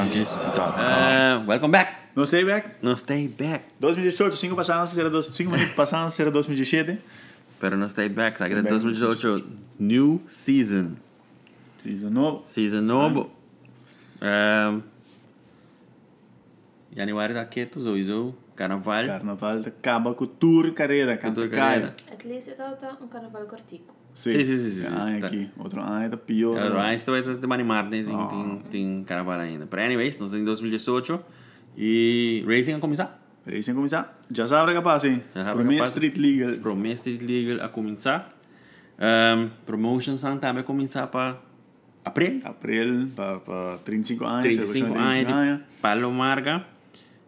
Disputa. Ah, welcome back. No stay back. No stay back. 2018, 5 pasadas, era dos, cinco minutos pasadas, era 2017. Pero no stay back. tá Saca de Back. 2018. New season. Fiz o novo. Season novo. Um, januari da keto, zoizo. oh. Carnaval. Carnaval acaba com tour carreira, cansa Cultura carreira. caia. Atleta tauta um carnaval cortico. Sim, sim, sim, sim. Ai, Tá. aqui. Outro ai, tá pior. É, Ryan você vai te animar, né? Tem, tem, tem carnaval ainda. But anyways, nós estamos em 2018 e Racing a começar. Peraí, sem começar. Já sabe, capaz, hein? Já sabe, Primeira capaz. Street League. Pro Main Street Legal a começar. Um, promotions também a começar para abril. Abril, para 35 anos. 35 celebração de anos de Palo Marga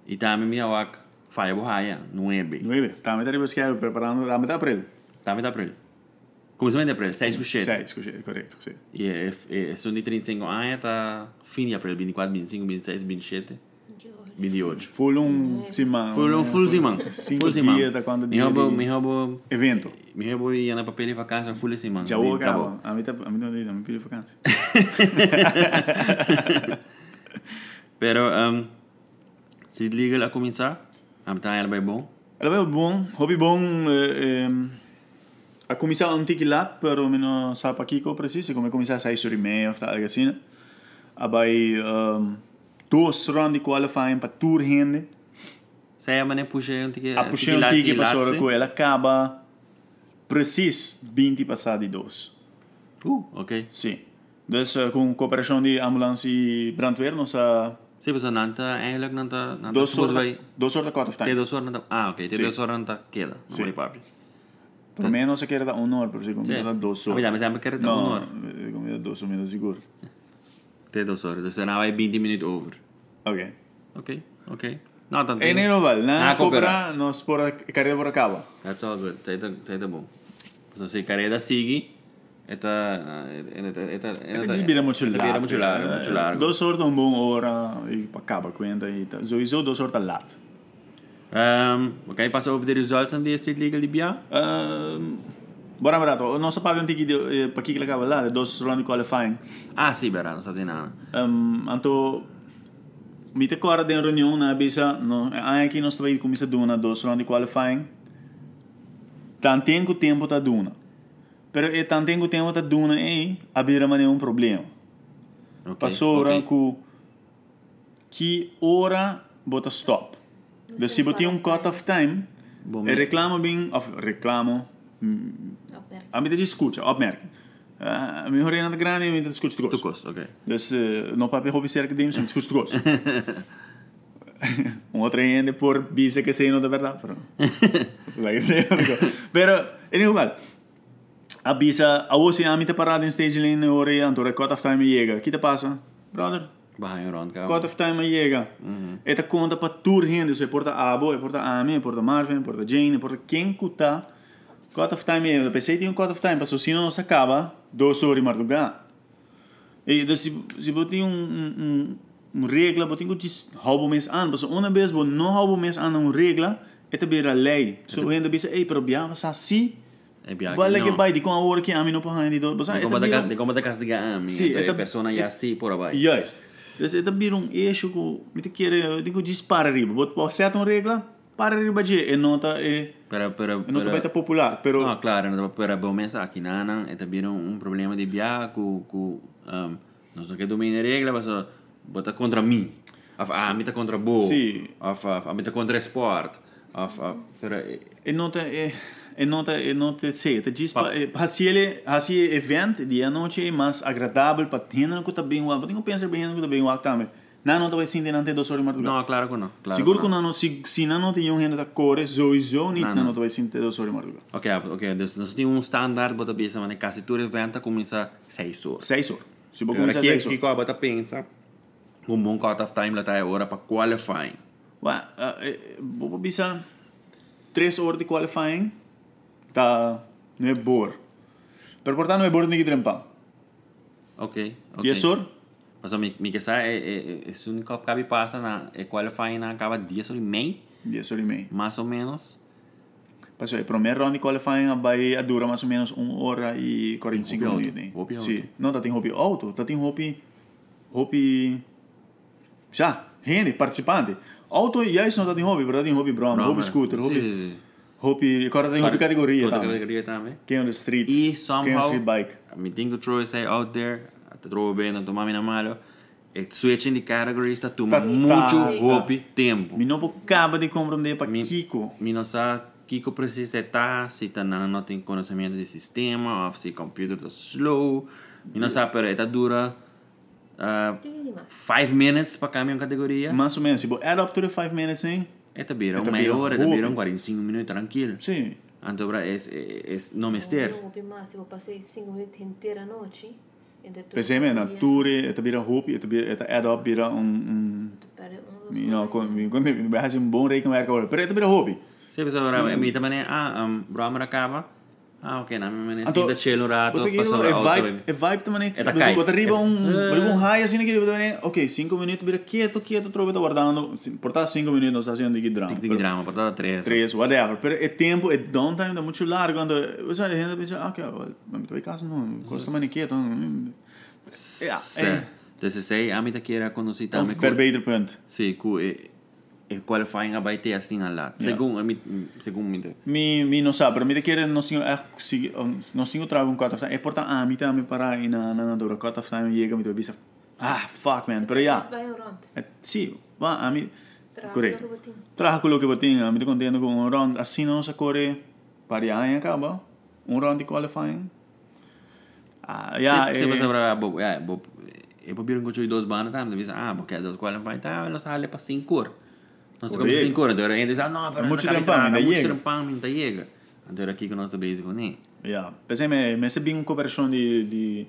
e também minha wak Fire Bohaya, 9. 9. Tá, mas tá buscando, preparando a metade de abril. Também de abril. Começamento de abril, 6 de 7. 6, correto. sim. E é, é, é, são de 35 anos, tá fim de abril, 24, 25, 26, 27, 28. Full um semana. Full on full simão. Cinco dias, tá quando Me dia roubou, de me roubou, evento. me roubou e ia na papel e vacância full simão. Já vou acabar. A mim tá, a mim não dá, a mim pediu vacância. Pero, um, se liga lá a começar, a metade ela vai bom. Ela é bom, hobby bom. eh, ehm, a começar um tiki lá, pero me não sabe aqui que eu preciso, como começar a sair sobre meia, ou algo assim. A vai ehm, duas rounds de qualifying para tour rende. Se a mané puxa um tique, A puxar um tiki para sobre com ela acaba precis 20 passados de dois. Uh, ok. Sim. Então, com cooperação de ambulância e brandweer, nós a Se a pessoa não tá, eigenlijk não tá, não tá, dois supposed vai... horas, dois horas de quarto Tem time. duas horas não tá, ah, ok, tem Sim. duas horas não tá, queda, não Sim. vai para. Por mim, não se quer dar uma hora, por exemplo, Sim. dá dois Ah, horas. mas dá- mas sempre quer dar Não, uma hora. eh, como dá dois horas, menos seguro. Tem duas horas, então não vai 20 minutos over. Ok. Ok, ok. Não, tá, En Enoval, Nada na a cooperar. cobra nos por carrera por acaba. That's all good. Tá, tá, tá, tá bom. Então, se a carreira sigue, esta... Esta... Ele vira muito largo. Vira muito largo, muito largo. Dois horas um bom hora e acaba quando e tá. Zoizo dois horas lat. Um, we gaan passen over de results van de Street League Libya. Ehm, Bora barato, não só para um tiki de para que acaba lá, dois round de qualifying. Ah, sì, Berano, state in Ana. Um, anto mi te cora de reunião na bisa, no, aqui nós vai começar duna dois round de qualifying. Tantengo tempo tá duna. Pero e tantengo tempo tá duna e abira mané um problema. Okay. Passou ok. okay. com que hora bota stop. Então, se botar um cut off time, Bom. e reclamo bem, of, reclamo, Aperto. a mim discute, opmerken. Uh, mi hore nada grande, mi discute Tu gosto. kost, oké. Dus uh, não papel hobby ser que demos, mi discute gosto. um outro ainda por bisa que sei não da verdade, pero. Vai ser. Pero, em igual. A bisa, a você a mim te parada em stage line, hore, anto cut off time chega. Que te passa? Brother, We gaan je rond gaan. Cut of time chega. Esta conta para tour rende. Você porta Abo, porta Ami, porta Marvin, porta Jane, porta quem cuta. Cut of time chega. Eu pensei que tinha um cut of time, mas se não se acaba, dois horas e madrugada. E então, se, se eu tinha um, um, um, um regra, eu tinha que roubo mês ano. Mas uma vez eu não roubo mês ano um regra, esta vira lei. Então, eu ainda pensei, ei, pero bia, mas assim, Heb vai je lá que eigenlijk vai, de com a hora que Ami não pode render. Mas De esta como te vira- cas- de como te castiga a mí. Sì, Entre eta- cioè, persona ya sí por abajo. Juist. Dus eh, dat biedt een eerste ko, met een keer, eh, digo, dis para riba. Wat wat zet een regla? Para riba je, en eh, nota e Pero, pero, nota pero- baita popular, pero No, claro, no, pero bom es aquí nana, y también un, un problema de viaje, cu, cu, um, no sé qué domine regla, pero bota contra mí. Of, ah, mí está contra bo. Sì. Of, of, a mí está contra sport. Of, of, pero, eh, en nota e en nota e nota se, te dis pa eh, hasi ele hasi event di anoche mais agradável para tendo que tá bem o, tenho pensar bem que tá bem o também. Na nota vai sim denante dos horas madrugada. no, claro que no. Claro Seguro que que não se se não tem um renda da cores, zoizo, nem Na na nota. nota vai sim ter dos horas madrugada. Ok, ok, dus nós temos um standard, bota pensa, mas quase tudo evento começa 6 horas. 6 horas. Se vou Agora começar aqui, 6 aqui horas. com a bota pensa, um bom cut of time lá tá a hora para qualifying. Ué, vou pensar três horas de qualifying, tá, não é boa. Pero portanto não é boa, tem que trampar. Ok, ok. E é sor? Mas mi, mi que sabe, é, é, é, se um copo cabe passa na é qualifying na acaba 10 horas e meia, Dez horas e meia. mais ou menos. Passou, o primeiro round de qualifying a vai a dura mais ou menos uma hora e 45 Tem hobby minutos. auto, hobby Sim. Não, tá tem hobby alto, tá tem hobby... Hobby... já, rende, participante. Auto e aí isso não tá de hobby, verdade em hobby Brahma, hobby Brahma. scooter, Sim, hobby, sim, sim. hobby, agora tem hobby categoria, Outra tá? categoria também. Quem on the street, E quem on the somehow, street bike. mi tengo Troy say out there, te trovo bene, non tomami na malo, Eh, e switching di categories sta tu Tá, muito tá. golpe tempo. Mi não acaba um de compreender para Mi- Kiko. Mi não sabe Kiko precisa estar, se tá não, não tem conhecimento de sistema, ou se o computador tá slow, mi não sabe, pero está dura ah, 5 Tem demais. minutes para cambiar uma categoria, Mais ou menos, se add up to the 5 minutes, hein? Eta bira Eta uma bira hora, eta golpe. bira 45 minutos tranquilo. Sim. Então, é, é, é não mister. Não, bem mais. Se eu passei 5 minutos inteira a noite, entre tudo. Pensei mesmo, na dia, ture, eta bira hope, eta bira, eta add up bira um, um para um dos mi- não, quando mi- quando mi vai fazer um bom rekenwerk agora. Pero eta bira hope. Se pessoa brava, mm. mita mane, ah, um, brava mara cava. Ah, ok, na minha mane, Então, sinta chelo rato, Você que passou a é auto. pues, vibe, baby. é vibe também. Eta cai. Bota riba um, Eh. riba um high assim que também. Ok, 5 minutos, vira quieto, quieto, trova tá guardando. Se- Por tá 5 minutos, nós tá fazendo de drama. Tic tic drama, portada 3. 3, whatever. Pero é tempo, é downtime, dá muito largo. Ando, você ainda pensa, ah, ok, mas tu vai casa, não, costa mais quieto. não. É, é. Desse sei, a mita que era conduzir Um também. verbeter ponto. Sim, cu e e qualifying a baite assim a lá. Segundo, a eh, mi, segundo mita. Mi, mi não sabe, pero mi te quer não tinha, eh, si, não tinha trago um cut of time. É porta, ah, mi tá me parar e na na na dora cut of time chega, mi tu bisa. Ah, fuck man, pero Yeah. já. Mas vai um round. Eh, Sì, va a mi... Tra Corretto. quello che vuoi. Tra quello che vuoi te, mi ti contento con un round, assi non sa corre, pari anni a capa, un round di qualifying. Ah, ja, se, eh, se pessoa brava, bo, é, bo, boh, e po bir un cocho dos bana tam, devisa, ah, porque dos qualifying tá, ela sale para 5 horas. Nós como Correcto. 5 horas, agora ainda diz, ah, não, pero Mucho não trampame, cabe traga, ainda muito llega. trampam, ainda chega. Então aqui que nós tá basic, né? ja. Per esempio, mi sembra un copercione di, di,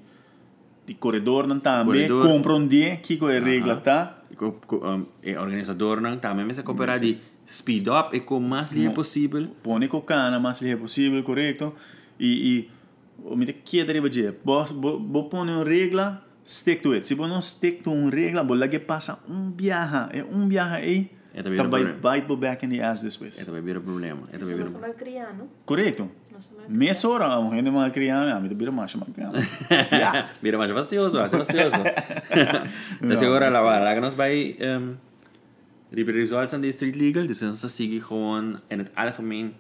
di corridor, non tambe, Corridor. compro un 10, chico e regla, ta. co, co, um, e organizador nang também mas a cooperar de speed up e com mais linha possível Pone con cana, ma se è possibile, corretto. E, e oh, mi ti chiedere, perché, bo, bo, bo pone un regla, stick to it. Se bo non stick to un regla, bo la che passa un viaja, e un viaja, e... é também Tá vira by problema bite bo back in the ass this way. é também vira problema é também Se vira eu sou malcriano, Correto. não sou malcriano. Meia hora, um rende mal criança, ah, me dobira macho mal criança. Ah, problema vira mais vacioso mais vacioso então agora lá vai lá que nós vai um, de resultados de street legal dus nós sigue gewoon in het algemeen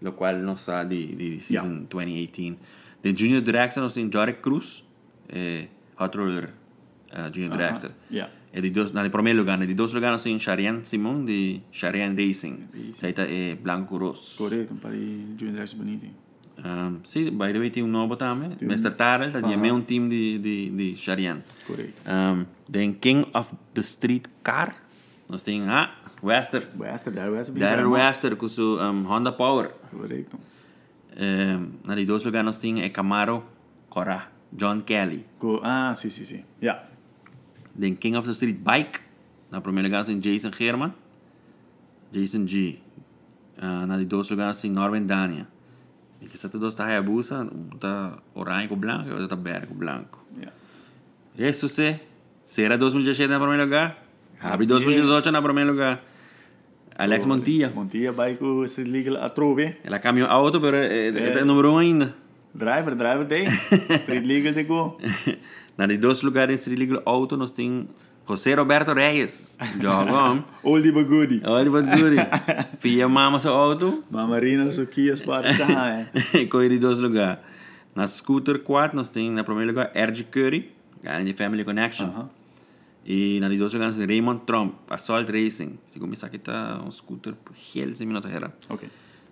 lo qual nós sa de de season 2018 de junior dragster nós tem Jarek Cruz eh, hot roller eh, junior dragster Yeah. E di dos, nel primo luogo, di dos luogo sono Sharian Simon di Sharian Racing. Saita è Blanco Rosso. Correto, para ir de um dress bonito. Um, sì, by the way, ti un nuovo tame. Mr. Tarel, ti me un team di, di, di Sharian. Correto. Um, then King of the Street Car. Nos tem ah, Wester. Basta, dar basta. Darren Wester con su um, Honda Power. Correto. Um, nel di dos luogo nos tem è Camaro Cora. John Kelly. Co ah, sim, sim, sim. Yeah. Then King of the Street Bike. Na primeira lugar tem Jason German. Jason G. Ah, na de dois lugares tem Norman Dania. E que essa tudo está Hayabusa, um está orange com branco e outro tá está verde com branco. yeah. Isso se será 2017 na primeiro lugar? Abre 2018 na primeiro lugar. Alex Montilla. Montia, baico, street legal, a trove. Ela cambiou a outra, pero é, é, é número 1 um ainda. Driver, driver day. street legal de go. na de dois lugares em Street Legal Auto nós tem José Roberto Reyes. Jogão. Oldie but goodie. Olha o Duri. Fia mama seu auto. Mamarina, suquia, spara, tá, é. Corri de dois lugares. Na Scooter 4, nós temos, na primeiro lugar, R.G. Curry, cara de Family Connection. E na de dois lugares, Raymond Trump, Assault Racing. Se começar aqui, tá um scooter por hell sem minutos era. Ok.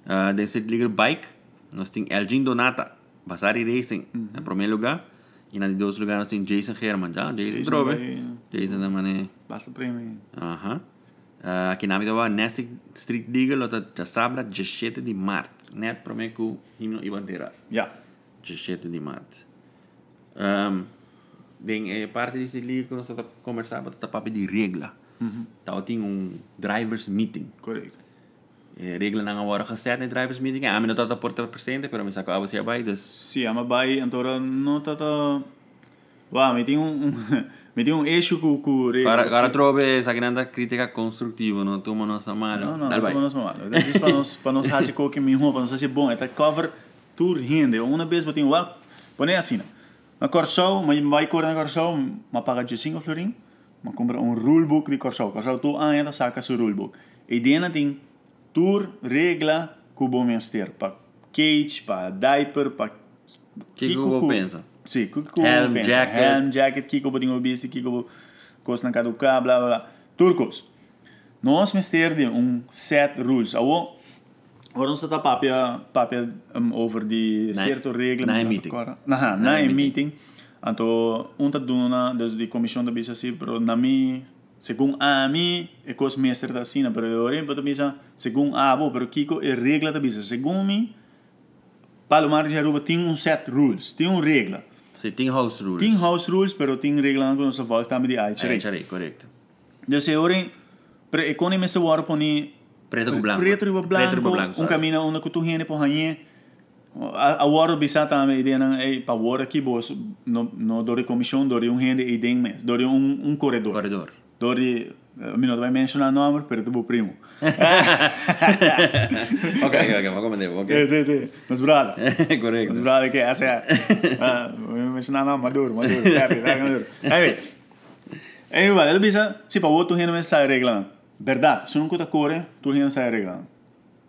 Uh, da Street Legal Bike, nós temos Elgin Donata, Basari Racing, Uhum. na primeiro lugar. E na de dois lugares, nós temos Jason Herman, já? Jason, Jason Drobe. vai- Jason também é... Basta prêmio. Aha. Uh, aqui na Amidava, neste Street Legal, nós temos Sabra 17 de março. Net, prometo, himno e bandeira. Yeah. 17 de maart. Ehm ding, eh, parte die liep kon ons dat conversa met dat papi die regla. Dat ding een drivers meeting. Correto. Eh, regla na worden gezet in drivers meeting. eh, Ja, maar dat dat por 30%, pero me saco a você vai, dus Sim, a Mabai Antora não tá tá. Uau, me tem um, um me tem um eixo com com o Agora, agora trobe essa grande crítica construtiva, não toma nossa mala. Não, não, Dale, não vai. toma nosso mamado. Diz para nós, para nós fazer qualquer minha roupa, para nós fazer bom, até cover tour rende. Uma vez eu tenho uau, põe assim, né? Na Corsol, mas vai correr na Corsol, mas paga de 5 florim, ma compra un rulebook di Corsair. Corsair tu ah, da sacca su rulebook. E dienatin tur regla cubo miaster, pa cage, pa diaper, pa Che cubo pensa. Sì, cu- cubo Helm, pensa. jacket. Helm, jacket, chi cubo dingo bisti, chi cubo cosna caduca, bla bla bla. Turcos. Nós mister de un set rules. Awo, Ora non stata papia, papia um, over di Na- certo regla. na ma meeting. ancora- Aha, na meeting. meeting. Anto un taduna des di commission da bisa si pro na mi segun a mi e cos mi ester da sina per ore but bisa segun a bo per kiko e regla da bisa segun mi palomar di aruba tem un set rules, tem un regla. Sim, tem house rules. Eh, Tem house rules, pero tem regla anche non so volta também di É, aichare. Cherry, correto. Desse ore pre e con i messe war poni Preto com branco. Preto e blanco. Preto e blanco, Um sorry. caminho onde que tu rende por rainha. A a hora bisa também ideia não é para hora que boas no no dori comissão dori um rende e den mês dori um um corredor. Corredor. Dori eh, mi não vai mencionar nome, pero tu primo. ok, ok, vou comandar. É, Ok. sim, sim. Mas brother. Mas correto. brother que essa ah, vou mencionar nome maduro, maduro, sabe, sabe, maduro. Anyway. Anyway, ele bisa se para outro rende mês sai reglando. Verdade, se não conta corre, tu rende sai reglando.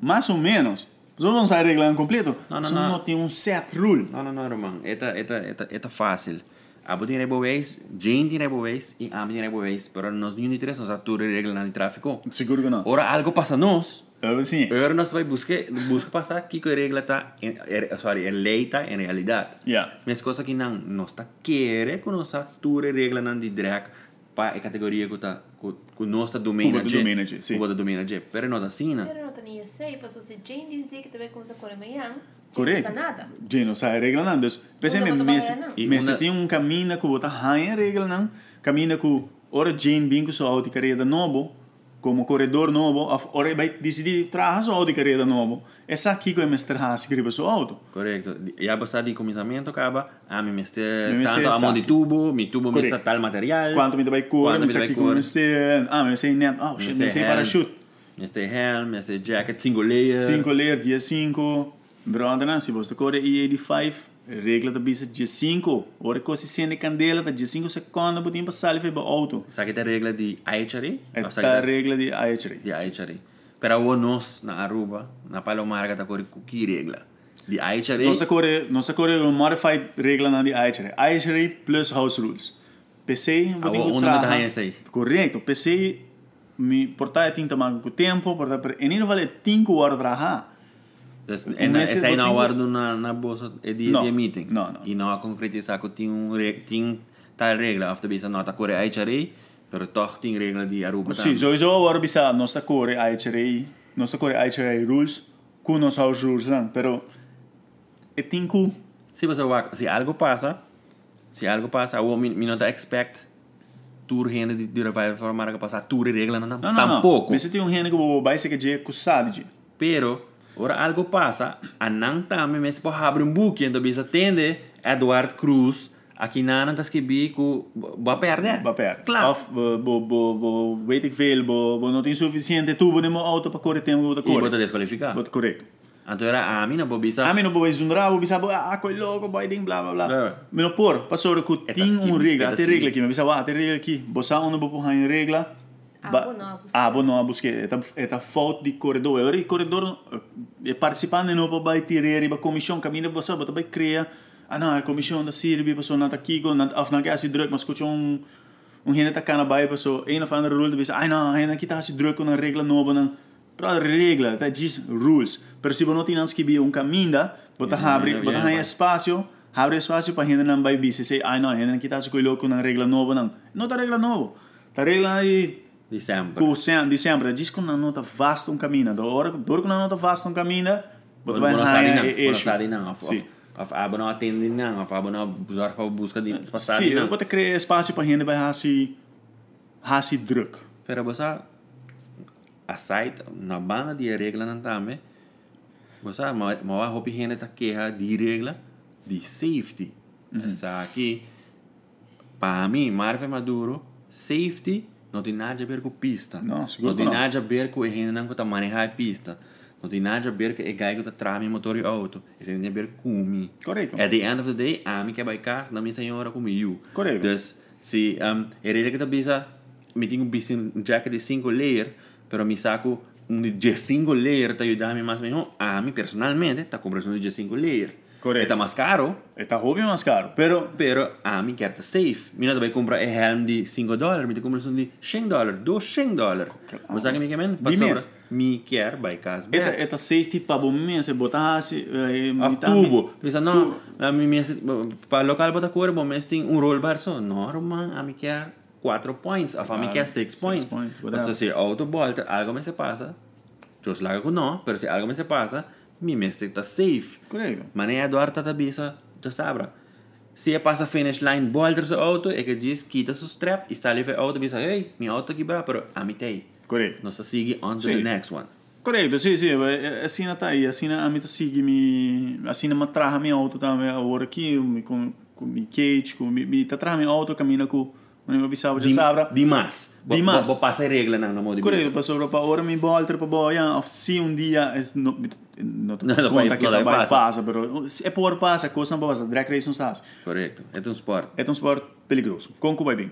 mais ou menos. Só não sai reglando completo. Não, Não, não, não, não. não. tem um set rule. Não, não, não, Roman. Eta, eta, eta, eta fácil. Abo tem Rebel Ways, Jane tem Rebel Ways e Ami tem Rebel Ways. Pero nós nenhum de três nós atura reglas de tráfico. Seguro que não. Ora, algo passa nós. Eu sim. Agora nós vai buscar, busca passar que que a regra tá, em- er, sorry, a lei tá em realidade. Yeah. Mas coisa que não, nós tá querer que nós atura regra não de drag para a categoria que tá, que, que nós tá domina. Cuba do domina, G, sim. Cuba do domina, G. Pero não tá assim, né? Pero no tenía seis, pasó si Jane dice que te ve como se corre mañana. Correto. No nada. Gino não sai regra não. Des, pensei Onda mesmo, com mas tabela, não. E mas onda- se tem um caminho que botar raia regra não, caminho que ora Jane bem com sua auto carreira novo, como corredor novo, of- ora vai decidir trazer sua auto carreira novo. Essa aqui que é mestre Haas escreve sua auto. Correto. E a passar de começamento acaba, ah, me meste Me meste tanto a mão de saque. tubo, me tubo me Correto. meste tal material. Quanto me vai correr, Quanto mas me vai aqui cor. como mestre, ah, mas sei net, oh, shit, Meste mestre helm, parachute. Meste helm, meste jacket, single layer. 5 leer, dia 5. Brother, né? se você corre E85, regra da bisa dia 5. Ora que você acende candela, tá dia 5 segundos, botinho para sair e vai para auto. Sabe que tem regra de Aichari? É Ou a sabe que regra de de Aichari. Aichari. Pero o nós, na Aruba, na Palomar, que tá com que regra? De Aichari. Nossa corre, nossa corre é uma modified regra na de Aichari. Aichari plus house rules. PC, Ah, botinho onde não tá essa aí? Correto, PC, me portar tinta mais com o tempo, portar para. E nem vale 5 horas trabalhar. nesse Essa aí não botinho- guardo na, na bolsa é de, Não. de meeting. Não, não. E não a concretizar que tinha, um, re- tinha tal regra. After bisa nota corre Aichari, pero toch tinha regra de Aruba. Sì, também. sowieso hoor bisa nostra core IHRI, nostra core IHRI rules, kun nos house rules lang, pero e tinku Se você vai, se algo passa, se algo passa, eu me não tá expect tu renda de, de revival formar que passar tu regra não, no no tampouco. no. Mi senti un hene che vai se che je kusadji. Pero, ora algo passa, a não também, mas por abrir um book, então bisa atende Eduardo Cruz, aqui na Ana tá escrito que vai perder. Va per. Claro. Of bo bo bo, bo weet ik veel, bo bo not insufficiente tu bo demo auto pa core tempo da E vou te core. desqualificar. Bot corretto. Então era a mim, não vou bisa. A me non bo zundravo, bisa bo ah quel logo, boy ding bla bla Eh. bla. Me lo por, passore cu Eta tin schimbi, un regla, eta te schimbi. regla chi, mi bisa va, te regla chi, bo sa uno bo po in regla. Ah, bo no, busqué. Ah, bo no, busqué. Eta, eta fault di corredor. Ora il corredor eh, partecipante non può mai tirare, ma commission cammina bossa, ma poi crea. Ah no, la commission da Sirbi, poi sono andata Kiko, of na si druk, ma scuccio un un hene ta kana bai, poi so een of andere rule, dus ah no, hene kita si druk con una regla nuova, non Però regla, ta gis rules. Per si bonoti non schibi un camminda, bota Ja, habri, ja, bota ja, hai ja. espacio, abre espacio para gente não vai bici. Sei, ai não, gente não quita com louco na regla nova não. Não tá regla nova. Tá regla aí De sempre. com sem, de sempre. Diz que na nota vasta um caminho. Da hora, da hora que na nota vasta um caminho, bota vai raia e eixo. Bonosari não. Of, Sim. of, of abo não atende não. Of abo não zorga para busca de passar Sim, eu não. vou ter que criar espaço para gente vai raci raci druk. Pero você a site na banda de regra não também. Você mas mas a hobby gente tá queja de regra de safety. Essa aqui para mim Marvel Maduro safety não tem nada a ver com pista. Não, não seguro que tem não. nada a ver com a gente não que tá manejar a pista. Não tem nada a ver com o guy que tá trama em motor e auto. Isso tem a ver com mim. Correto. At the end of the ah, day, a mim que vai casa, da minha senhora comigo. Correto. Dus, se um, a regra que tá bisa mi tengo un bici- un jacket de single layer, pero mi saco un de single layer te ayuda a mí más o menos, a mí ah, personalmente, te compras un de single layer. Correcto. Está más caro, Está óbvio mais caro, pero pero a mí queda safe. Mi no te voy a comprar un helm de 5 dólares, me te compras un de 100 dólares, 200 dólares. ¿Vos sabés que me quemen? Die Pasó, mensen. mi queda, by cas esta, esta safety para bom você botar assim, Af tubo. Pensa, não, a mim, minha, para local bota corpo, mas tem um roll bar só. Normal, a mim quer 4 points, a família quer 6 points. points, Mas whatever. se auto volta, algo me se passa, eu slago com não, mas se algo me se passa, mi mestre está safe. Correto. Mané Eduardo está tabisa, já sabra. Se passa finish line, volta seu auto, é que diz, quita seu strap, e está livre auto, pensa, ei, minha auto quebra, pero a mim tem. Correto. Nós sigue on to Sim. the next one. Correto, sim, sim. eh, Assim tá aí. Assim a mim tá sigue me. Assim me traz minha auto também. Agora aqui, me com com me cage, com me- me tá traz minha auto, caminha com. Não me avisava, já sabra. Dimas. Dimas. Vou passar a regra na mão de Correto, para sobre para agora me volta para boia. Se um dia eh, não não Não, te não conta vai- que não não vai vai passa. passa, pero é por passa, coisa não passa. Drag race não estás. Correcto, es un sport. é um esporte peligroso. Conco vai bem.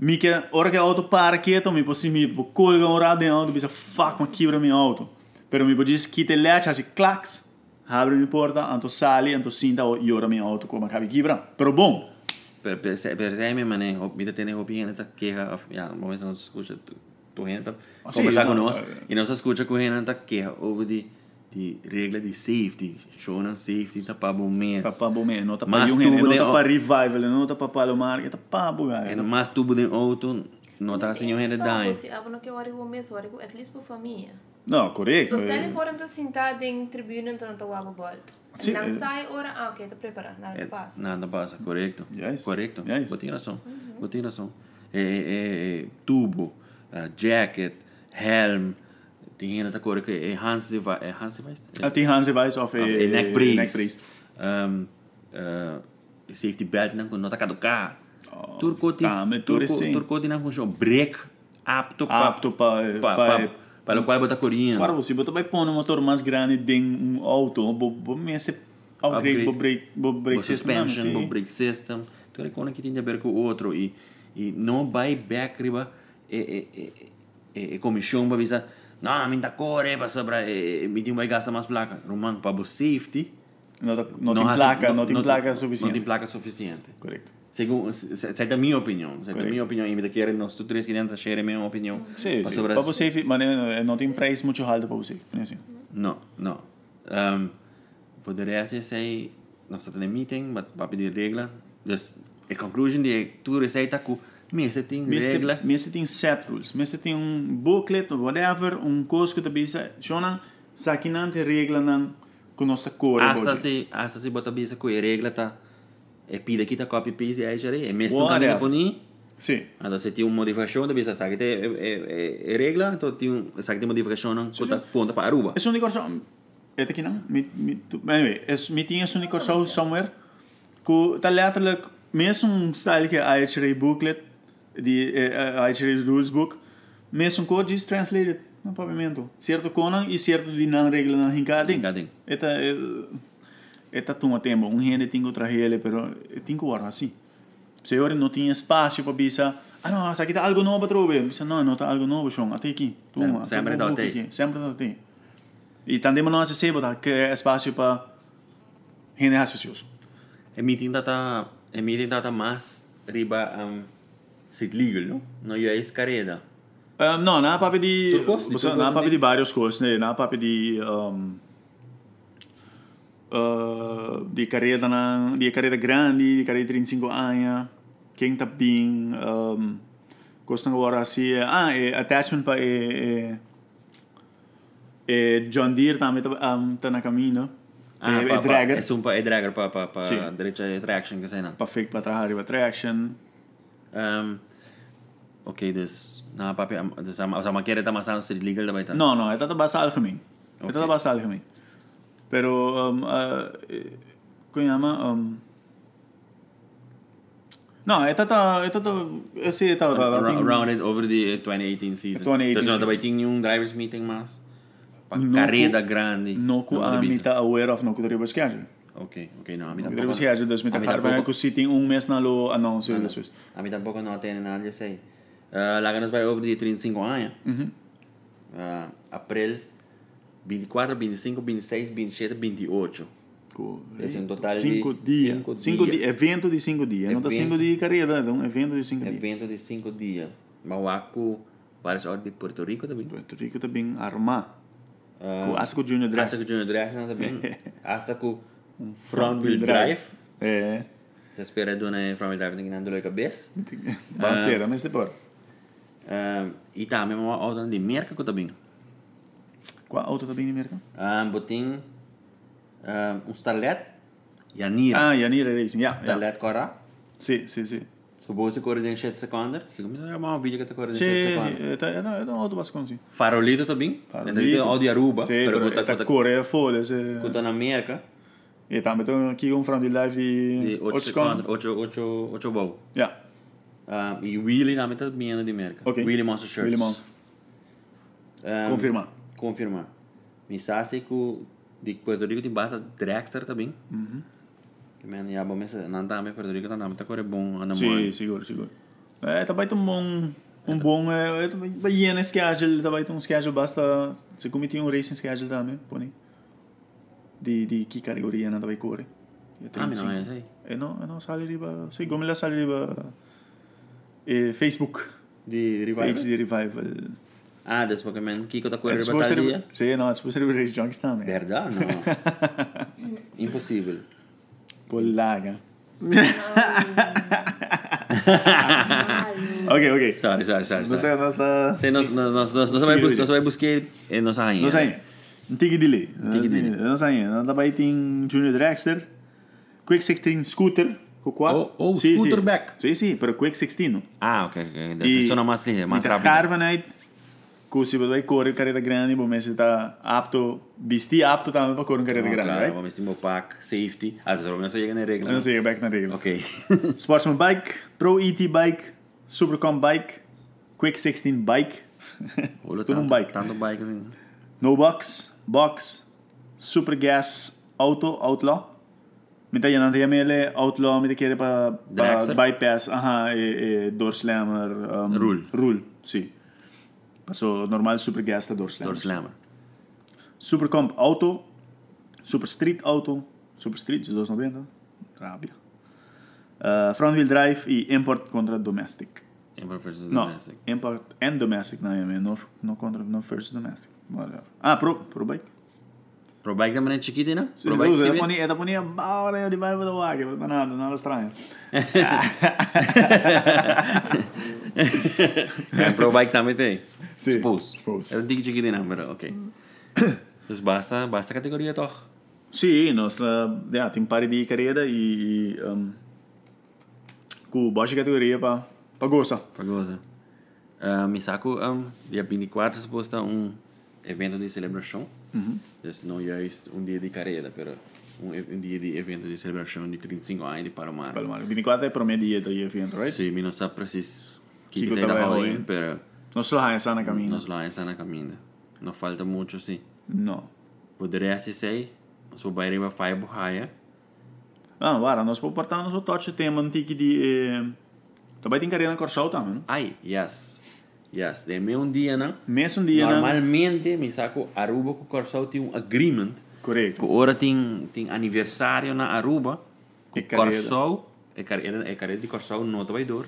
Mica, hora que a auto para quieto, me posso me colga um rado em auto, pensa, fuck, uma quebra minha auto. Pero me podes quita leite, assim, clax, abre minha porta, anto sali, anto sinta, e ora minha auto como cabe quebra. Pero bom, Pero, pero, pero, pero me manejo, mira, tienes opinión esta queja, of- ya, vamos a no se escucha tu, tu gente, Ah, sí, conversar no, con nosotros, eh, y no se escucha con gente esta queja, over oh, de, de regla de safety, shonan safety, tapa bombes, tá pra bom mesmo, não tá pra Mas um rene, tudo não de- tá pra revival, não tá pra palomar, que tá pra bugar. en más tubo de auto, no está haciendo gente daño. Se abro no que eu arrego mesmo, eu arrego at least por família. Não, correto. Se os tele eh, foram então sentados em tribuna, então não estou água volta. Sim, Não eh. sai hora, ah, ok, está preparado, nada passa. Eh, Nada pasa, correcto. Yes. Correcto. Yes. Vos tenés razón. Vos tenés razón. Eh, eh, eh, tubo, eh, jacket, helm, tem gente esta cor que é Hans Device. É Hans Device? Ah, Tem Hans Weiss of Of a eh, neck brace. neck brace. Um, uh, safety belt não não tá caducar. Oh, turco tem tá, mas tudo turco sim. turco tem um jogo break apto Apto pa- pa, pa- pa, para o qual botar corinha. Claro, você bota vai pôr um motor mais grande dentro um auto, bo bo esse upgrade, Upgrade. bo break, bo break o suspension, não, o sim. break system, tudo é coisa que tem a ver com o outro e e não vai back riba é é é, é, é comissão para dizer não, minha corre para sobra, é, é, me tem vai gastar mais placa. Roman para o safety. Não, tá- não tem há- placa, não tem placa Não tem suficiente. placa suficiente. Correto. Según, esa es mi opinión. Esa es Correcto. mi opinión. Y me quieren nosotros tres que tienen share mi opinión. Sim, Pa sim. sobre- Para você, fi- mas eh, não tem preço muito alto para você. Não é assim. No, no. Um, poderia ser sei, nós temos um meeting, mas para pedir regra. Pues, a conclusão de tu receita que mesmo tem regla. Mas você tem set rules, mas você tem um booklet, ou whatever, um curso que também diz, Jonan, saquinante regla não com nossa cor. Hasta hoje." se, hasta se botar bisa com a regra tá e pide aqui tá copy paste aí já é mesmo Whatever. caminho por mim. Sim. Então se tem uma modificação, tu pensa, sabe que tem é, é, é regra, então tem um, sabe que tem modificação, não, ponta para Aruba. Es un unicornio. Este aquí no. Mi, mi, tu, anyway, es, mi tiene es un unicornio somewhere. Ku, tal letterlijk, mes un style que IHRA booklet, die eh, IHRA rules book, mes un code is translated no pavimento. Cierto conan y cierto di nan regla nan hincading. Hincading. Esta, eh, esta toma tempo. Un gene tingo trajele, pero eh, tingo guarda así. Senhor, não tinha espaço para pensar. Ah, não, isso aqui tá algo novo para trover. Pensa, não, não tá algo novo, João. Até aqui. Toma, Sem- sempre até um dá pouco até. aqui. Sempre dá até. E também não acessível, tá? Que é espaço para gente raciocínio. Emiting data, emiting data más riba um, sit legal, no? No yo es careda. Um, não, na papo de... Turcos? De Você, turcos na não papo tem? de várias coisas, né? Na papo de... Um, uh, de carreira na, de carreira grande, de carreira de 35 anos, quem tá bem, um, gostam agora assim, eh, ah, e attachment para e, e, e John Deere também tá, um, tá na caminho, ah, e, e pa, dragger, Pa, es un pa, e dragger pa, pa, pa eh, Sí. derecha de traction que sea. para fake para trabalhar para traction, Um, ok, dus, na papi, am- dus ama, ama quiere ta más sit legal da baita. Não, não, é tanta base algemeen. É tanta Ok. base algemeen. Pero, um, uh, Konyama, um, não, é tanta, é tanta, esse é tal, tal, tal, tem- Rounded over the eh, 2018 season. 2018 Dus no season. da baita un drivers meeting más. Pa No carrera cu- grande. diba, não que no a de bisa. mita aware of, não que dribbas que haja. Ok, ok, no, a mí Que dribbas que tampoco. haja, dois mita Ah, carpa, tampoco- que o City um mês na lo anúncio Ah, no. das vezes. A mí tampoco no tiene nada, yo sé. Eh, Laganos vai over de 35 anos. Eh, abril 24, 25, 26, 27, 28. Es un total de cinco dias. cinco Cinco dias. di- Evento de cinco dias. Não tá Evento. cinco dias de carreira, é um evento de cinco dias. Evento de 5 dias. Mauaco, várias horas de Puerto Rico também. Puerto Rico também armar. Eh. Com Asco Junior Dress. Hasta que Junior Drive também. Hasta que Front Wheel Drive. Ah. É. Te espera de uma Front Wheel Drive tem que andar de cabeça. Vamos ver, mas depois. Ah, e também uma hora de Mercaco também. Qual outro também de mercado? Ah, botim ah, um starlet e a Nira. Ah, Yanira Racing. Yeah, yeah. starlet Cora. Sim, sim, sim. Suposto que de 7 segundos. Se como é um vídeo que está correndo em 7 Sim, segundos. sim. Tá, é, não, é um outro basicão, sim. Farolito também. Farolito. Ou de Aruba. Sim, Pero pero botar tá conta Coreia, foda-se. na América. E também estão aqui um front de live De 8 segundos. segundos. 8 8 bol. Yeah. Ah, e Willy também está vindo de América. Ok. Willy Monster Shirts. Willy Monster. Ah, Confirmar. confirmar. Mensaje que de Puerto Rico tem basta Dragster também. Uhum. Também, e a bomba é Puerto Rico também está correndo bom. Ana Sim, seguro, seguro. É, tá baita um bom... Eh, Um bom... É, é, tá baita um schedule, tá baita um schedule, basta... Se cometer um racing schedule também, põe. De, de que categoria não tá vai correr. É Ah, mas 35. não é isso aí. E não, e não sale riba... Sim, como ela sale riba... eh, Facebook. De Page de Revival. Eh, Ah, depois que eu Kiko tá É correndo suposto ter- batalha. Sim, não, é suposto ter race junks também. Verdade? Não. Impossível. Polaga. Malo. Ok, ok. Sorry, sorry, sorry. Não sorry. sei, nós tá... Sim, nós, nós, nós, nós, nós, Sim, vai bus- Willy. nós vai buscar eh, nossa rainha. Não sei. Não tem que delay. tem que delay. Não sei. né? Não dá pra ir em um Junior Dragster. Quick 16 Scooter. Com quatro. Oh, oh, scooter back. Sim, sim. Para Quick 16. não? Ah, ok. okay. Deve ser só mais linda, mais mientras né? rápida. Harvanite. Que se você vai correr carreira grande, você está apto, vestir apto também para correr carreira Ah, grande, Claro, right? vamos ter meu pack, safety. Ah, só não chega na regra. Não sei, back na regla. Ok. Sportsman Bike, Pro ET Bike, Supercom Bike, Quick 16 Bike, Olha, tudo um tanto- bike. Tanto bike assim. No Box, Box, Super Gas, Auto, Outlaw. Mitä gärna det med eller Outlaw, men det kräver bara Dragster? bypass, aha, eh, eh, doorslammer. Um, Rul. Rul, si. Alltså normal Super Gas till doorslammer. Door slammer. Super Comp Auto, Super Street Auto, Super Street, se dos noventa. Rabia. Uh, front wheel drive i import kontra domestic. Import versus No, domestic. import and domestic, nej, men no, no contra, no first domestic. Whatever. Ah, pro, pro bike. Pro bike também é chiquito, né? Sì, Pro scusa, la bike civil. ponia, la ponia Bauer di Barba da Waghe, ma no, non era strano. É, pro bike também tem. Sim. Suppose. Suppose. Eu digo chiquito, né? Mas ok. Então basta, basta categoria, toch? Sì, no, sta, ja, ti impari di carriera e... Um, cu baixa categoria pa, pa goza. Fagosa. Uh, Misako, um, dia 24, suposto, um evento de celebração. Uhum. Não é isto um dia de carreira, mas um, e- um dia de evento de celebração de 35 anos de Palomar. Pelo mano, 24 é para minha dieta e evento, right? Sim, mas não sabe preciso o que Kiko que sai da trabalha roda, hoje. mas Não só há essa na caminho. nós lá estamos na caminho. Não falta muito, sim. Não. Poderia assistir, mas o Bahia vai fazer borraia. Ah, vara, nós podemos portar nosso toque tema antigo de... Eh, também tem carreira na Corsal também, não? Ai, yes. Yes, de meio um dia, né? Mesmo dia, né? Normalmente, Misako, Aruba com o Corsal tem um agreement Correto. Tipo, Ora tem, tem aniversário na Aruba. E E carreira. Corsol. E carreira, e carreira de Corsol no trabalhador.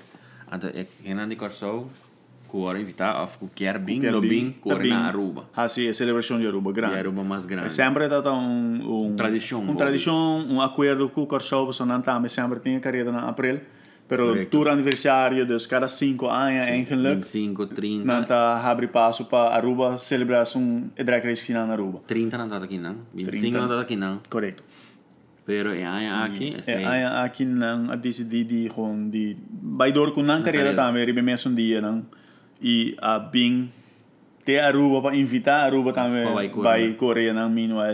Então, é Renan de Corsol. Que ora invitar. Of qualquer bem, do bem. Que ora na Aruba. Ah, sim, é celebração de Aruba, grande. E Aruba mais É grande. sempre data um, um Tradição, um Bobby. tradição, um acordo com o Corsovo, só não também sempre tinha carreira na abril, pero Correcto. tour aniversário dos cada cinco anos eigenlijk 25, 30. nanta abre passo para Aruba celebrar um drag race final na Aruba. 30 não está aqui não. 25 30. não está aqui não. Correto. Pero é aí aqui. É É, sei. aí aqui não a decidi de com de baidor com não carreira carreira. também, ribe mesmo dia não e a bing te Aruba para invitar Aruba Pa vai também correr. vai Coreia não minual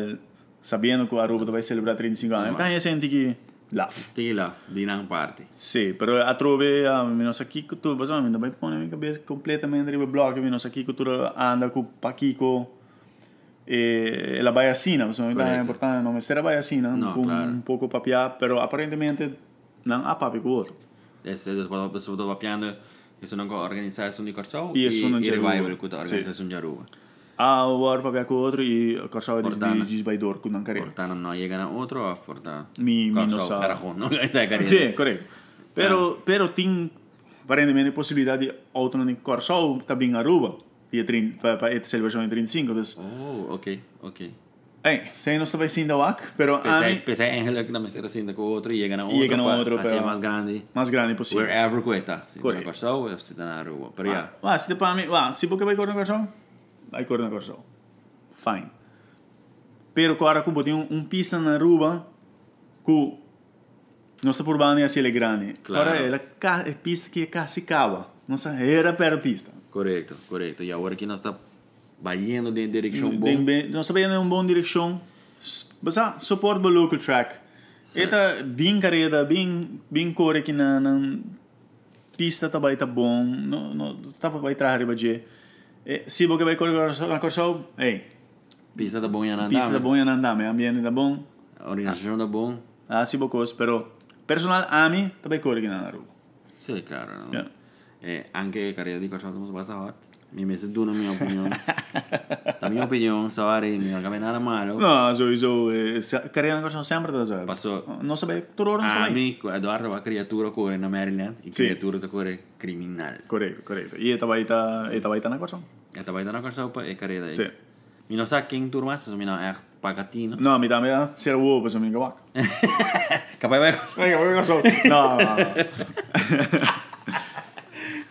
sabendo que Aruba vai celebrar 35 anos. Então eu senti que laugh. Tem lá. De não parte. Sì, però a trove a minus pues, a Kiko tu, ma mi dai pone mica bes completamente ribe blog, minus a Kiko tu anda cu pa Kiko e, e la baiasina, insomma, mi dai Corretto. importante nome stera baiasina, No, con claro. un poco papia, però apparentemente non ha papi cu otro. é Esse depois a pessoa tá estava piando. che sono organizzate su di Corso Io um e, sono in e Giaruba. Revival che organizzate Sì. su Jaruba. A uvar pa kako otro i kašao da Portana. izbiđi izbajdor kud nam karira. Portano no llegan a otro, a Portano. Mi- mi Corso, no sa- Carajón, ¿no? Esa de Carajón. Sì, corretto. Però, Ah. però tin varende mene possibilità di auto in Corso ta bin Aruba. Dia trin pa este pa et celebrazione 35 dus. Oh, ok, ok. Eh, sei non sta facendo wak, però Pensé, ami pensé en lo que no me estoy haciendo con otro y llegan a otro. Llegan a pa- otro, así pero- más grande. mas grande possibile. Wherever cuesta. Si pues, Correcto. Ah. Correcto. Corso, si están a Aruba. Pero ya. Va, si te pa ami, va, si può che vai corno Corso? Vai corno Corso. Fine. Però qua cubo di un, un pista in Aruba cu non sta urbana e le grane. Claro. Ora è la ca- è pista che casi cava. Non sa era per pista. Correcto, correcto. Y ahora que no está vayendo de dirección Den boom. ben- Dan sta bene in un buon direction. S- Basta support the local track. Eta bin careta, bin bin core che na na pista ta baita bom, no no ta pa baita riba je. E si bo che vai correre la corsa, ehi, Pista da bom y anandame. pista da bom e andame, ambiente da bom. Organización da bom. Ah, si bo cos, però personal ami ta vai correre na ru. Sí, claro. ¿no? Yeah. Eh, aunque Carrillo dijo que somos más hot, mi me dice duro mi opinión. La mi opinión, sabari, mi no nada malo. No, so so eh, sa- carrera na corsa sempre da so. Passo- Non sabe, tutto ora non A sabe. mí, Eduardo va criatura corre en Maryland y Sí. criatura te corre criminal. Corretto, corretto. Eta baita, eta baita na corsa. Esta vaina no cosa para carrera. Sí. Mi no sé quién turma es, mi no es pagatino. No, mi dame da ser uovo, pues mi kawak. Capaz va Venga, venga, so. No, no, no.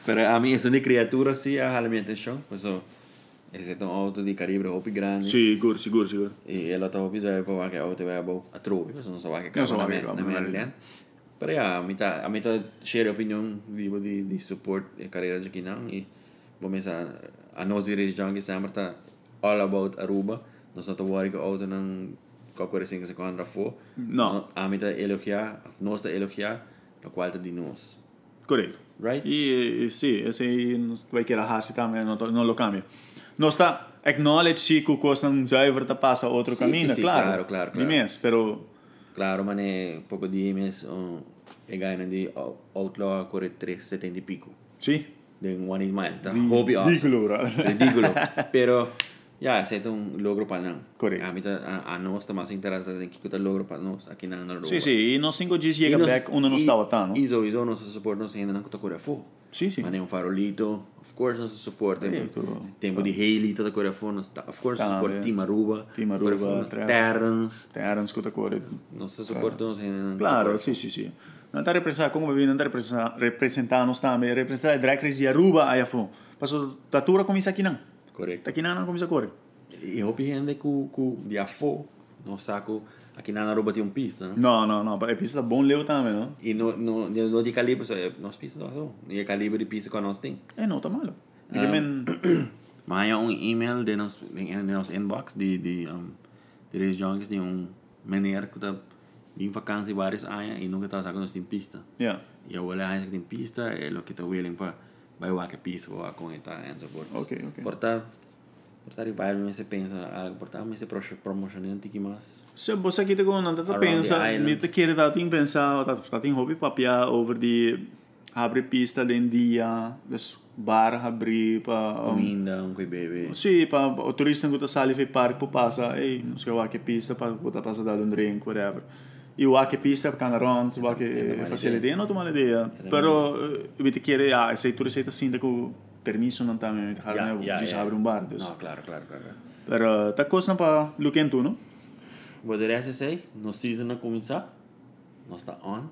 Pero a mí es una criatura sí, a la mi atención, pues eso es un auto de calibre hopi grande. Sicuro, sicuro, sicuro. E el otro hopi sabe por que auto va a trovi, pues no sabe que No sa cama waar ik en komen, Maryland. Pero ya, a mitad, a mitad share opinión vivo de de support en carrera de Kinan y vamos a a nos dirigir que sempre tá all about Aruba. Nós não estamos worried que o auto não qualquer coisa que andra for. No. A mitad elogiar, nós tá elogiar, lo qual tá de nós. Corretto. Right? E, e sì, e se non vai che la hasi tam, non, to- non lo cambia. Non sta acknowledge sì che cosa un driver ta passa altro Sì, cammino, sì, sì, claro. claro, claro, Di claro. me, però Claro, man, é pouco de mês, um, é ganhando de out- Outlaw a correr 370 e pico. sì. De um one in mile, tá? Hobby awesome. Ridicolo, brother. Ridículo. Pero, já, yeah, é um logro para nós. Correcto. A, mim tá- a, a nós está mais interessada em que que tá logro para nós aqui na Noruega. Sì, sì, e non singo gis llega back, uno non stava tanto. E isso, isso, nosso suporte, nós ainda não está correndo fogo. Sì, sì. Mas é um farolito, of course, nosso suporte. Sim, tudo. Tempo de Haley, tá correndo fogo. Of course, Tá, suporte é. Team Aruba. Team corre Aruba, Terra. fora, Terrence. Te era scuta cuore. Nosso suporte, nós ainda não Claro, sì, sì, sì. Andare a pensare come viene andare a pensare, rappresentare non sta, ma rappresentare é drag race di Aruba a Yafo. Passo tatura come sa chi non. Correto. Ta chi non come sa cuore. E hopi gente cu, cu de afo, no saco, aqui na Aruba tem um pista, né? No, no, no, è pista buon leo tame, no? E no, no, de, no de calibre, só é nós pista nós não. E é calibre de pista que nós tem. Eh no, sta male. Ah. Perché men Mas há um e-mail de nós, de, de nós inbox de, de, um, de Reis Jongs, de um maneira que tá em vacância vários anos e nunca tá sacando nós tem pista. yeah. E a olha a gente tem pista, é o que tá willing para vai lá que pista, vai conectar, and so forth. Ok, ok. Portar, portar revival, mas você pensa, algo, portar, mas você promocionando um tiquinho mais... Se você aqui com andata Around pensa, the island. mi te tá, chiede da tin pensa, da sta tin tá, hobby papia over di apri pista den dia, des bar abri pa um, Minda, um que bebe. Sì, pa, o turista che sali fai park po passa, ehi, non so che pista, pa puta passa da un drink, whatever. Io a che pista, per andare on, tu va che facile idea, non tu male idea. Però eh, mi ti chiede, ah, se tu sei sindaco, permesso non ti mi ti Ja, fare, ja, ci ja. apre un bar, pues. eh, dus. No, claro, claro, claro. Però ta cosa pa Luken tu, no? Poderia ser sei, no season a começar, nós está on.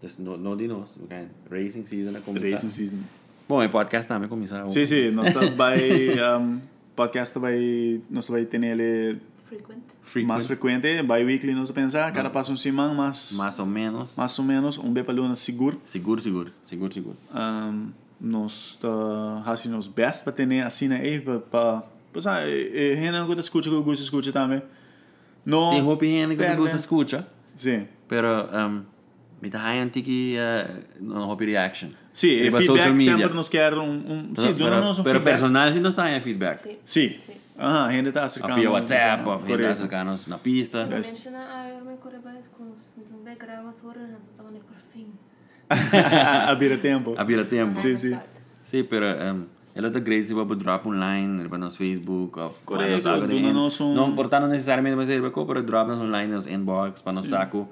Dus no, no de nós, okay? racing season a começar. Racing season. Bom, e podcast também começar. Sì, sì, non sta by um, podcast by non sta by tenere Frequent. Frequent, más frequente, by weekly non so pensa, cada passo un siman, mas mais ou menos. mais ou menos um bepa luna seguro. Seguro, seguro, seguro, seguro. um, nos uh, assim nos best para ter assim aí para pois ah e Renan que escuta que eu gosto escuta também não Tem roupa ainda que Perde. você escuta, sim pero um, me dá aí antigo uh, no roupa reaction. sim e Riba feedback sempre nos quer um, um sim Pero- do nosso Pero feedback personal, se não está em feedback. Sim. sim Sim. ah Renan está A acercando via WhatsApp, a via correto. acercar-nos na pista. Se Best. menciona a Irma Correbais com um background sobre a Antônia por fim. abrir tempo Abrir tempo. sim sim Exato. Sí, pero em, el otro grade se va a drop online, hermanos Facebook, of Correcto, algo de- dúnanos un- No portanos necesariamente va a ser hueco, pero dropnos online, nos inbox, para nos saco.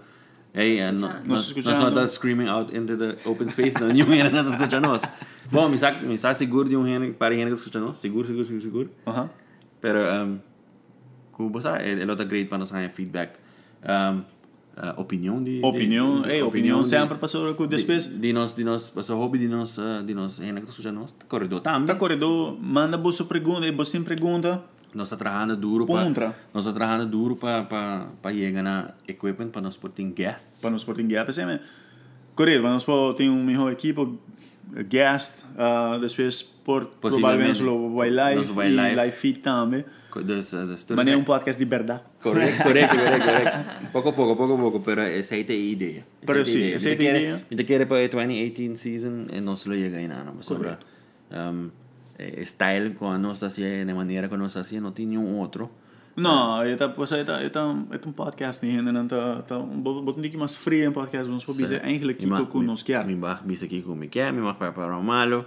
Hey, eh, no, Nos no, escuchando. no, screaming out into the open space, no, nenhum ainda não escuta-nos. Bom, me está, me está seguro de um gênero, para gênero que escuta-nos, seguro, seguro, seguro, seguro. Ajá. Pero, um, como você sabe, ele está great para nos ganhar pues, feedback. Um, eh, opinião de... Opinião, de, ei, opinião sempre passou com despesa. De, de nós, de nós, seu hobby, de nós, eh, de nós, gênero que escuta-nos, corredor também. Tá corredor, manda você pergunta, e você pergunta. Nós está trabalhando duro Contra. para... Nós está trabalhando duro para, para, para chegar na equipment, para nós por ter guests. para nos poder guiar para sempre. Correr, vamos supor, tem um melhor equipe, guest, ah, depois por, provavelmente Possivelmente. o Wildlife Nosso e Wildlife. Life Fit também. Dos, dos, Mas é um podcast de verdade. Correcto, correcto, correcto, correcto. Poco a poco, poco a poco, eh, pero esa es la idea. Esa Pero es la sí, idea. esa Si es te la quiere- idea. Si te quiere para el 2018 season, eh, no se lo llega a nada. Más sobre um, eh, style con nos hacía, de manera que nos hacía, no tiene un otro. Não, é tá, pois é, tá, é, tá, um- é tá um podcast ainda, não tá, tá um pouquinho mais frio um podcast, vamos Pues supor, é eigenlijk Kiko com nos guiar. Mi baja, viste aquí con mi que, mi baja para para lo malo.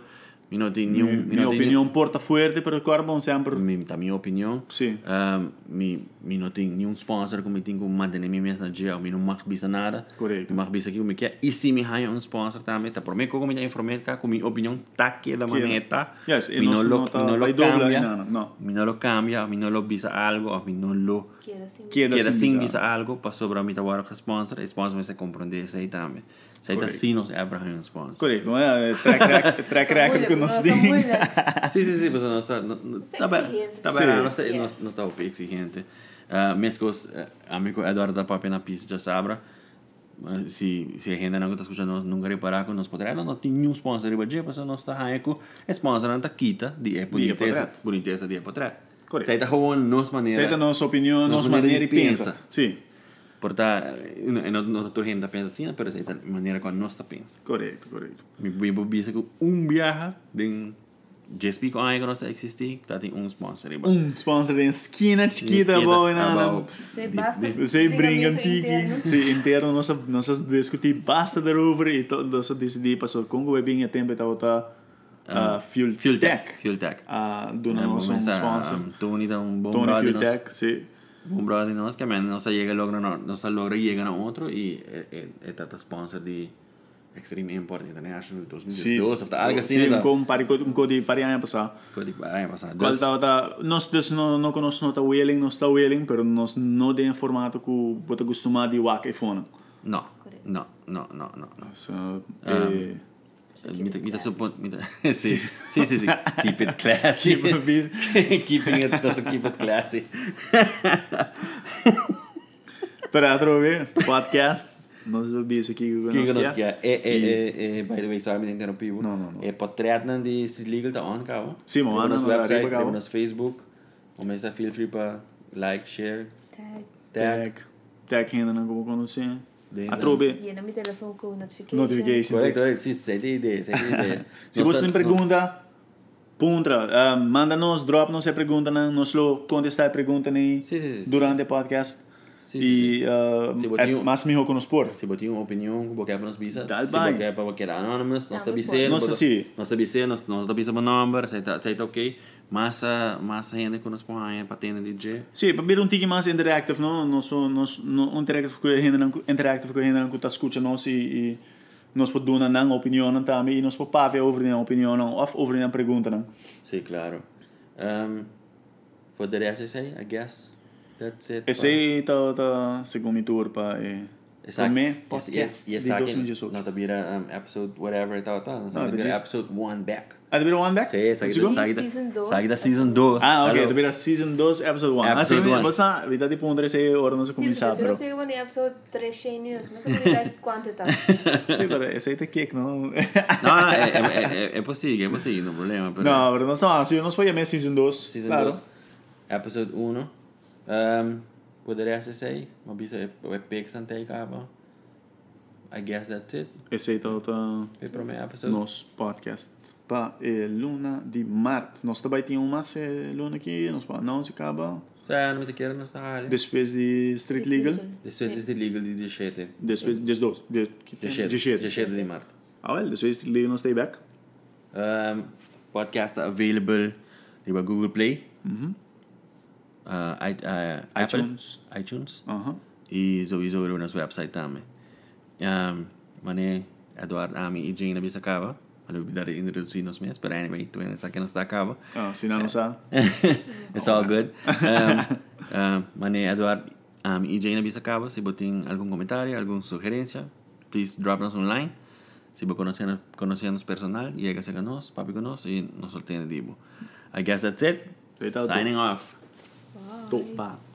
Mi no tiene ni un. mi Minha no tiene- opinião porta forte, pero agora vamos sempre... Mi, ta mi opinión. Sim. Um, mi, mi no tiene ni un sponsor que me tengo que mantener mi mensaje o mi no más visa nada. Correcto. No más visa que me queda. Y si me hay un sponsor también, te prometo que me informé acá con mi opinión está que la maneta. Yes, e mi no nosso lo, não tá- mi no vai lo doblar, cambia. não, não, não. Mi no lo cambia, mi no lo visa algo, o mi no lo Queda assim. Queda queda sin sin visa. visa "Ah, algo, pasó para mi trabajo que sponsor, el sponsor me se comprende ese ahí también. Se ahí está Correcto. sí nos abra un sponsor. Correto, é track record- track record que nós temos. Sí, sí, sí, pues no está. No, no, Está está bem- exigente. Está Sim. bem, não está, Yeah. não, não está op- exigente. Uh, minhas coisas, uh, amigo Eduardo da Papi na pista já sabe. Uh, se, se a gente não está escutando, nós nunca reparar que nós poderá. Não, não tem nenhum sponsor de Badger, mas nós está ranco. Sponsor não está quita de boniteza, Epotré. boniteza de Epotré. Correto. Sai da rua, nos maneira. Aceita a nossa opinião, nossa Nossa maneira e maneira de pensa. pensa. Sim, Porta, não, não estou rindo da pensa assim, mas sai da maneira que nós está pensa. correto, correto. Mi bebo bicycle um viaja, den GSP com a que nós está existir, está tem um sponsor de Um sponsor de esquina chiquita, Esquerda, boa e abaixo. nada. Você basta. Você brinca um Ligamento antigo. interno. Sim, inteiro, nós nós discutir basta de over e todos decidir passou com o webinho a tempo e tal, tá. ah, Fuel Fuel Tech. É, Tech. Fuel Tech. Ah, do nosso um sponsor. Tony dá um bom Tony brother Fuel nós, Tech, sim. bom brother nós que man, nós chega logra nós logra chega na outro e é- é é tata sponsor de Extreme Import International 2012 tá algo assim Sim, tá com um par um código de parianha passar. Pode vai passar Qual dois tá, tá, nós des não não conosco não tá willing, nós tá willing, pero nós não tem formato que bota acostumado de wak iPhone. não não não não não não So, ah. eh, Mita, mita supon, mita, sí, sí, sí, sí. Keep it classy. Keep it bit- Keeping it doesn't keep it classy. Para ver podcast, nós vamos aqui que Quem que nós nós quer. quer? É, é, é, é, by the way, sorry, me interrompi. Não, não, não. É portrait não de Street Legal tá on, cara. Sim, mano, Nosso não, website, arriba, leva cabo. nosso Facebook. Começa feel free para like, share, Tá. tag. Tag. Tag ainda não como conhecer. Dentro. A trobe. E na minha telefone com notification. Notifications. Correto, correto. Sim, sei de ideia, sei de ideia. Se você tem pergunta, puntra, ah, manda nos, drop nos a pergunta, não, nós lo contestar a pergunta nem Sim, sim, sim. durante o podcast. Sim, sim, E ah, Se é botinho- mais melhor que nos pôr. Se você tem uma opinião, que qualquer para nos bisa. Dá-lhe Se bem. qualquer para qualquer anônimos, nós Dá-lhe estamos bem. bisa. Nossa, sim. Nós estamos bisa, nós estamos bisa para número, sei tá, sei tá ok. Massa, massa ainda que nós põe para tenda DJ. Sim, para ver um tique mais interactive, não? Nós, nós, não interactive com a gente, não, interactive com a gente, não, que está escutando nós e, e nós podemos dar uma opinião também, e nós podemos paver sobre uma opinião, não, ou sobre uma pergunta, não? Sim, claro. Um, for the rest, I say, I guess. That's it. Esse aí tá, tá segundo minha turpa, é... Exato. Comer Yes, podcast yes, yes, de I can- 2018. Nota vira um, episode whatever e tal, tal. Nós Ah, vamos but ver yes. episode 1 back. Ah, de ver one back? Sim, sai Segundo? da sai da- Season dois. sai da season 2. Ah, ok, de ver season 2, episode 1. Ah, sim, Episode one. mas ah, vida tipo um 13 horas não se Sim, começar, porque se eu bro. não sei quando é episode 3 cheininhos, mas eu não sei quanto tá. Sim, pero esse aí tá kick, não? Não, não, é, é, é, é possível, é possível, não problema. pero- Não, pero não são assim, nós podemos season 2, Season claro. 2, episode 1. Um, poderia ser isso aí. Uma bisa é é Pix até aí, acaba. I guess that's it. Esse aí tá... tá... Foi para mim episode. nos podcast pa eh, luna di mart. Nós também tínhamos mais eh, luna aqui, nós pa não se acaba. Já não te quero, não está ali. Depois de Street Legal, Isso é illegal de 17. depois de 12, de 17. 17. 17 de março. Ah, well, depois de Street Legal nós stay back. Um, podcast available über Google Play, uh, i- uh, Apple, iTunes. iTunes Aham. e sowieso über nosso website também. Um, Mané, Eduardo, Ami e Jane Abisacaba. Mané, olvidar de introduzir-nos mesmo, but anyway, tu ainda sabe que nos acaba. Ah, afinal É. não sabe. It's all good. Um, um, Mané, Eduardo, Ami e Jane Abisacaba. Se você tem algum comentário, alguma sugerência, please drop nos online. Se você conhecer conhecermos personal, llega a nós, papi con nós e nos obtiene divo. I guess that's it. Feito. Signing off. Topa.